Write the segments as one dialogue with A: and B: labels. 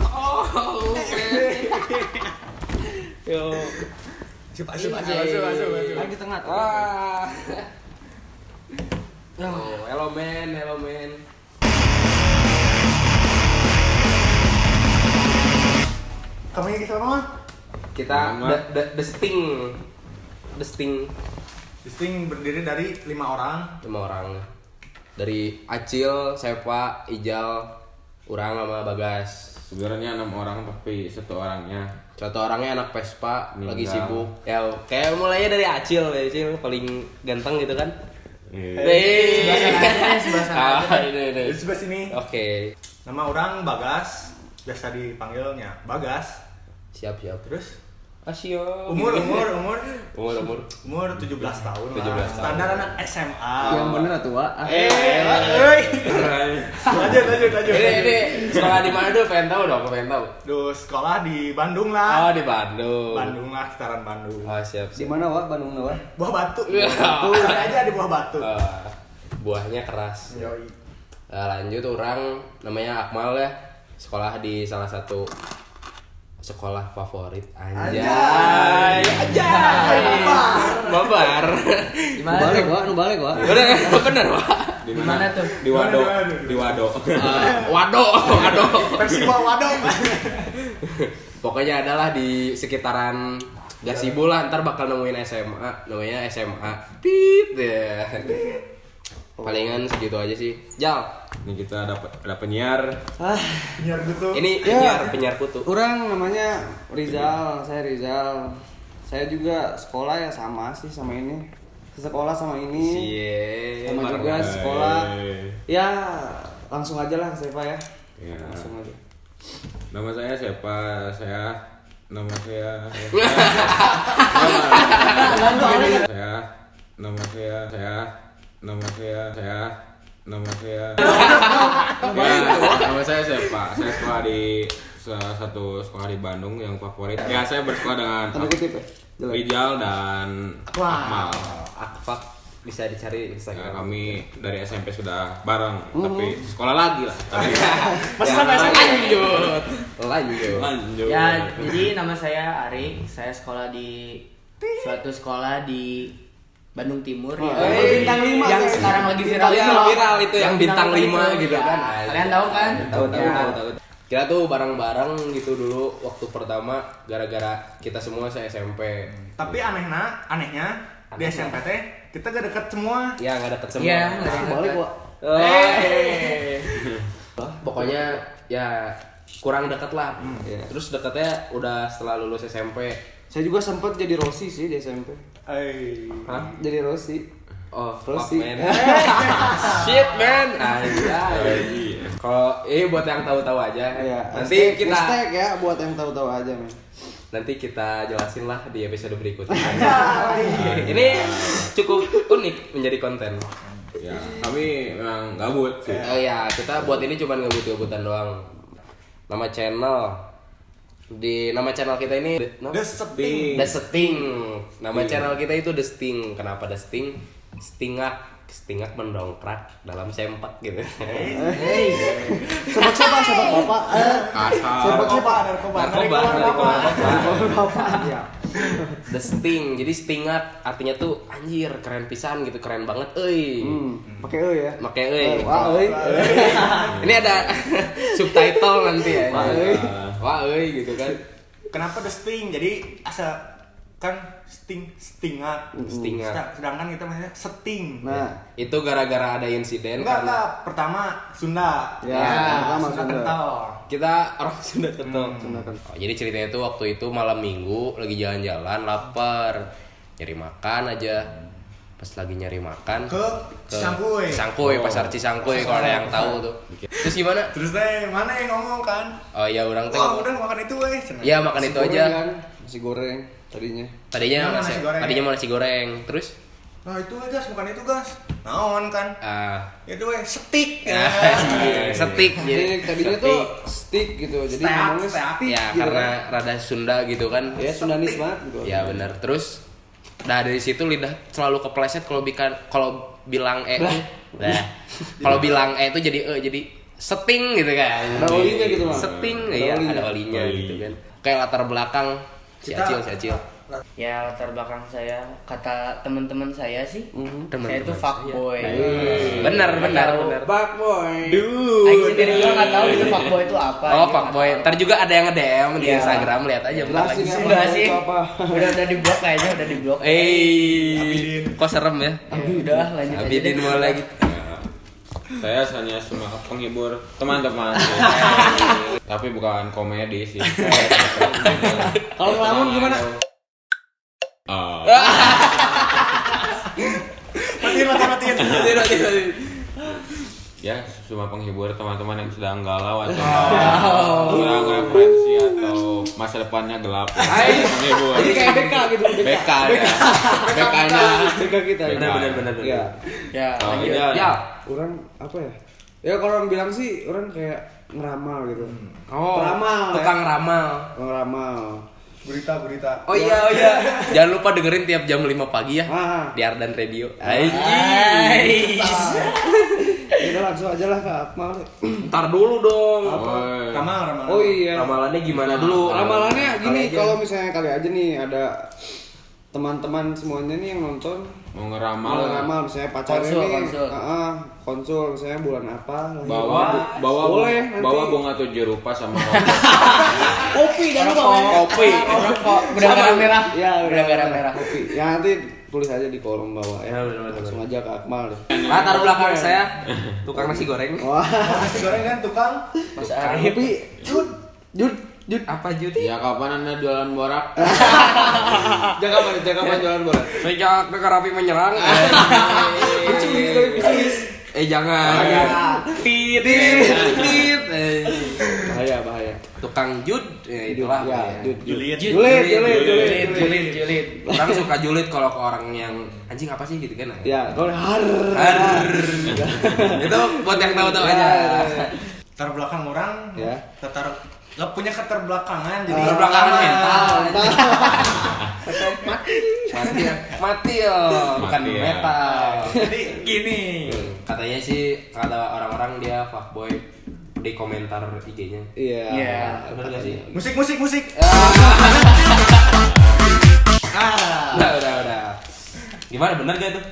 A: Oh,
B: Yo.
A: Iya,
C: Masuk, masuk, masuk, masuk, masuk, masuk.
B: Lagi tengah.
A: wah. Oh, hello man, hello man.
C: Kamunya ke sono?
A: Kita
B: Nama.
A: the, the, the sting, the sting
C: Disting berdiri dari lima orang.
A: lima orang dari Acil, Sepa, Ijal, Urang sama Bagas.
B: Sebenarnya enam orang tapi satu orangnya
A: Contoh orangnya anak Vespa
B: Meninggal.
A: lagi sibuk. Ya, kayak mulainya dari Acil, ya Acil paling ganteng gitu kan.
C: Iya.
B: Eh,
C: sebelah sana
A: Ah,
C: aja deh, sebelah sana aja
A: ini, ini.
C: Di sebelah sini.
A: Oke,
C: Nama orang Bagas, biasa dipanggilnya Bagas.
A: siap siap.
C: Terus
A: Asio.
C: umur
A: Iya.
C: umur umur
A: umur umur.
C: umur 17 tahun. lah.
A: 17 tahun. Iya,
C: Standar anak SMA.
D: Yang bener tua. Ah.
A: Eh,
C: Eh, lanjut lanjut lanjut.
A: ini ini sekolah di mana dulu? Pengen tahu dong, aku pengen tahu.
C: Duh, sekolah di
A: Oh
C: Bandung lah.
A: di Bandung.
C: Bandung lah, sekitaran Bandung.
A: Oh siap siap.
D: Di mana wa Bandung wa?
C: Buah Batu.
A: Iya.
C: Tuh, ada aja di Buah Batu.
A: Eh, buahnya keras.
C: Yoi.
A: Nah, lanjut orang namanya Akmal ya. Sekolah di salah satu sekolah favorit anjay.
C: Anjay.
A: Anjay. Babar.
D: Di balik wa, nu balik wa.
A: Bener, bener, Pak.
B: Di mana tuh?
A: Di Wado, di Wado. Eh, Wado, Wado.
C: Persiwa Wadong.
A: Pokoknya adalah di sekitaran Gasibu lah, ntar bakal nemuin SMA, namanya SMA. Tit. ya. Palingan segitu aja sih. Jal,
B: Ini kita ada pe- ada penyiar.
D: Ah,
C: Nyar gitu.
A: ini
D: Ya.
A: penyiar, penyiar kutu.
D: orang namanya Rizal, saya Rizal. Saya juga sekolah ya sama sih sama ini. Sekolah sama ini.
A: Cie,
D: Iya. Sama juga
A: barengan.
D: sekolah.
A: Eh.
D: Ya, langsung aja lah Seva ya.
B: Ya.
D: Langsung aja.
B: Nama saya siapa? Saya nama saya saya nama saya saya nama saya saya nama saya ya, nama saya siapa? Saya sekolah di salah satu sekolah di Bandung yang favorit. Ya saya bersekolah dengan
D: Tanda kutip ya. Jelek.
B: Rijal dan
C: Wah.
B: Akmal.
A: Akfak bisa dicari
B: Ya,
A: Instagram.
B: kami dari SMP sudah bareng,
D: Mm-hmm.
B: tapi sekolah lagi lah. Tapi
D: Iya.
C: Masa sampai SMA?
A: Ya, Lanjut, lanjut.
B: lanjut.
E: Ya, jadi nama saya Arik. Saya sekolah di suatu sekolah di Bandung Timur ya.
A: iya,
D: Oh, bintang lima,
E: yang
D: kayak.
E: sekarang lagi
A: Bintang
E: viral itu
A: lima
E: loh.
A: viral itu, yang bintang lima
E: itu,
A: gitu
E: iya.
A: kan.
E: Kalian tahu kan?
A: Tahu tahu
E: Ya.
A: tahu tahu. Kita tuh bareng-bareng gitu dulu waktu pertama gara-gara kita semua se SMP.
C: Tapi anehna, anehnya di SMP teh kita gak deket semua.
A: Ya nggak deket semua.
E: Iya, nggak
D: Nah, balik wa.
A: Oh. Pokoknya ya kurang deket lah.
D: Iya.
A: Terus deketnya udah setelah lulus SMP.
D: Saya juga sempat jadi Rosi sih di SMP.
C: Eh.
A: Hah?
D: Jadi Rosi.
A: Oh,
D: Terus
A: fuck,
D: sih.
A: man. Shit man. Anjay.
B: Iya.
A: Kalau ini buat yang tahu-tahu aja.
D: Iya.
A: Eh, nanti
D: hashtag-
A: kita
D: hashtag ya buat yang tahu-tahu aja men.
A: nanti kita jelasin lah di episode berikutnya. ini cukup unik menjadi konten.
B: Ya, kami memang gabut sih.
A: Oh ya, kita buat ini cuman ngebut-ngebutan doang. Nama channel di nama channel kita ini The,
C: The Septing.
A: The Sting. Nama channel kita itu The Sting. Kenapa The Sting? Stingak, stingak mendongkrak dalam sempak gitu.
D: Hey. Sebab siapa? Sebab bapak. Eh,
B: Kasar. Ya.
C: Narkoba, narkoba,
A: Narkoba, narkoba, narkoba.
D: bapak. Ya.
A: The Sting. Jadi stingat artinya tuh anjir keren pisan gitu, keren banget euy.
D: Hmm. Pakai e ya.
A: Make euy.
D: Wah, euy.
A: E. Ini ada subtitle nanti ya.
D: Wah, euy.
B: eh.
A: Wah, euy gitu kan.
C: Kenapa The Sting? Jadi asal kan sting stingat
A: Stingat.
C: Sedang- sedangkan kita maksudnya seting
D: Nah,
A: Itu gara-gara ada insiden
C: enggak
A: karena
C: enggak pertama Sunda
D: Ya, pertama
C: Sunda
D: Sunda.
C: kental
A: kita orang Sunda ketong.
D: Sunda Ketong.
A: Oh, jadi ceritanya itu waktu itu malam minggu lagi jalan-jalan lapar nyari makan aja pas lagi nyari makan
C: ke Cisangkuy
A: Cisangkuy, pasar Cisangkuy kalau ada yang tahu tuh terus gimana
C: terus teh mana yang ngomong kan
A: oh ya orang tuh
C: wah udah makan itu eh. weh Cenah.
A: ya makan
D: nasi
A: itu
D: goreng
A: aja
D: kan? Nasi goreng tadinya.
A: tadinya
C: Mana nasi
A: nasi-
C: goreng?
A: tadinya mau nasi goreng terus
C: nah itu weh gas bukan itu gas naon kan
A: ah
C: itu weh setik
A: ya, setik
D: Jadi
A: jadi
D: tadinya tuh stick gitu. Jadi
C: Steak,
D: ngomongnya
C: steak.
D: stick.
A: ya
D: gitu kan.
A: karena rada Sunda gitu kan
D: ya Sundanis banget gitu.
A: Ya benar. Terus nah dari situ lidah selalu kepleset kalau bikan kalau bilang e. Nah, kalau bilang e itu jadi e jadi seting gitu kan
D: Ada olinya gitu, Bang.
A: seting
D: Ada
A: iya
D: olinya.
A: ada olinya
B: Oli.
A: gitu kan kayak latar belakang si
F: Kita-
A: acil si acil
E: Ya latar belakang saya kata teman-teman saya sih, saya
A: Mm-hmm. Teman-teman
E: itu fuckboy.
D: Hmm.
A: benar benar benar
D: Bak boy.
E: Aku sendiri juga nggak tahu itu fuckboy itu apa.
A: Mm. oh
E: Dia
A: fuckboy
E: nggak tahu.
A: ntar juga ada yang nge-DM di
E: Iya.
A: Instagram lihat aja bentar lagi
D: Jelasin
E: Enggak
D: Fuckboy
E: sih.
D: itu apa?
E: Udah udah diblok kayaknya udah diblok.
A: eh kok serem ya
E: Ya, udah lanjut aja
A: Abidin
E: deh.
A: mulai gitu
B: saya hanya cuma penghibur teman-teman tapi bukan komedi sih
D: Kalau ngelamun gimana?
B: Ah.
C: Matiin, matiin, matiin.
B: ya cuma penghibur teman-teman yang sedang galau atau kurang referensi atau masa depannya gelap penghibur
D: Jadi kayak BK gitu, BK.
B: BK ya BK-nya
D: BK kita.
B: BK.
A: benar benar benar
D: Iya.
E: Ya,
B: Oh,
E: lanjut.
B: iya,
A: ya
B: ya.
D: Orang apa ya? Ya kalau orang bilang sih orang kayak ngeramal gitu.
A: oh
D: Ramal, ya.
A: tukang ramal
D: Orang ramal.
C: Berita, berita.
A: oh iya oh iya jangan lupa dengerin tiap jam 5 pagi ya
D: Ah.
A: di Ardan Radio Anjing.
E: Hai.
D: Ya udah langsung aja lah ke Akmal.
A: ntar dulu dong
B: Woi.
C: Kamal, Ramal.
D: Oh iya.
A: ramalannya gimana dulu
B: Ah,
D: Ramalannya
A: Kali
D: gini
A: aja.
D: kalau misalnya kali aja nih ada teman-teman semuanya nih yang nonton
B: mau
D: mau
B: ngeramal
D: ngeramal misalnya pacarnya
E: Konsul,
D: nih
E: konsul.
D: ah, ah, konsul misalnya bulan apa lahir
B: bawa
D: bu-
B: bawa
D: boleh nanti.
B: bawa bunga tujuh rupa sama rokok.
D: kopi jangan lupa Bang.
A: kopi
E: Rokok, udah merah merah.
D: ya
E: udah merah merah.
D: kopi ya nanti tulis aja di kolom bawah ya langsung aja ke Akmal deh
A: latar Nah, belakang saya tukang nasi goreng
D: wah
C: Nasi goreng kan tukang.
E: Mas Arif.
D: kopi jut jut jut
A: apa Jud?
B: ya kapan anda jualan borak
D: jaga mana jaga mana jalan bola
A: Sejak Rapi menyerang.
D: lucu nih tapi pesimis
A: eh jangan. Tit tit tit. Eh,
D: bahaya bahaya
A: Tukang jud ya itulah.
D: ya
A: Ya.
D: jut jut
C: Juliet.
D: julit julit julit
E: Julid, julid, julid.
A: Orang suka julid kalau ke orang yang anjing apa sih gitu kan.
D: ya kalau har
A: Arr. Itu buat yang tahu-tahu aja. Iya.
C: Latar belakang orang.
D: Ya.
C: Latar nggak punya keterbelakangan jadi
A: Terbelakangan
C: Ramal.
A: mental.
D: Tahu.
A: Iya. Mati ya. Mati ya. Bukan
B: Mati ya.
A: metal.
C: Jadi gini.
A: Katanya sih kata orang-orang dia fuckboy di komentar IG-nya.
D: iya
E: Iya.
A: Benar gak sih?
C: Musik, musik, musik. Ah.
A: Udah, udah, udah. Gimana bener gak tuh?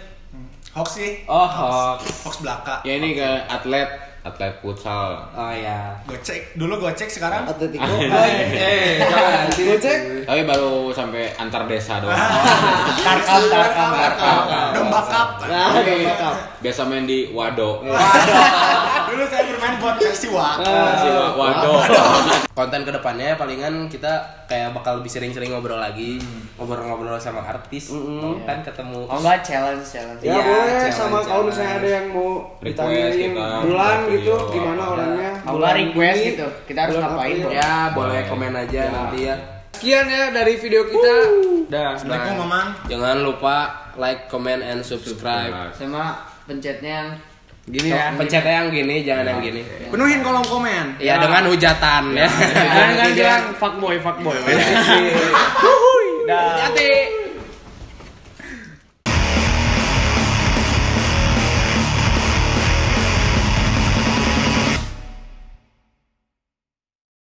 C: Hoax sih.
A: Oh, hoax.
C: Hoax belaka.
B: ya ini ke atlet atlet futsal
A: Oh ya.
C: Gocek. Dulu gocek sekarang.
D: Atletico
B: Iya.
A: Eh, jangan.
D: Nanti gue cek
B: tapi baru sampai antar desa doang
E: Tarkam, tarkam, tarkam.
C: Domba cup.
D: Nah, udah lengkap.
B: biasa main di wado
C: Dulu saya bermain buat persiwa.
B: Si wa- wado
A: Konten kedepannya palingan kita kayak bakal lebih sering-sering ngobrol lagi, ngobrol-ngobrol sama artis, kan ketemu.
E: Oh enggak challenge challenge.
D: Ya
A: Iya,
D: boleh
A: challenge,
D: sama kalau
A: challenge.
D: misalnya ada yang mau
B: Request
D: ditanyain
B: kita,
D: bulan
B: request
D: gitu
B: video, apa.
D: gimana
B: Iya.
D: orangnya.
E: Kalau
D: bulan
E: request
D: ini,
E: gitu, kita harus
D: bulan
E: ngapain,
D: April.
E: Bro?
A: Ya, boleh komen aja nanti ya.
D: Sekian ya dari video kita.
A: Dah,
C: Assalamualaikum,
A: nah.
C: Mamang.
A: Jangan lupa like, comment, and subscribe.
E: Sama pencetnya yang
A: Gini ya. Pencetnya yang gini, jangan yang gini.
C: Penuhin kolom komen.
A: Ya, dengan hujatan ya.
E: jangan jangan jangan fuckboy fuckboy.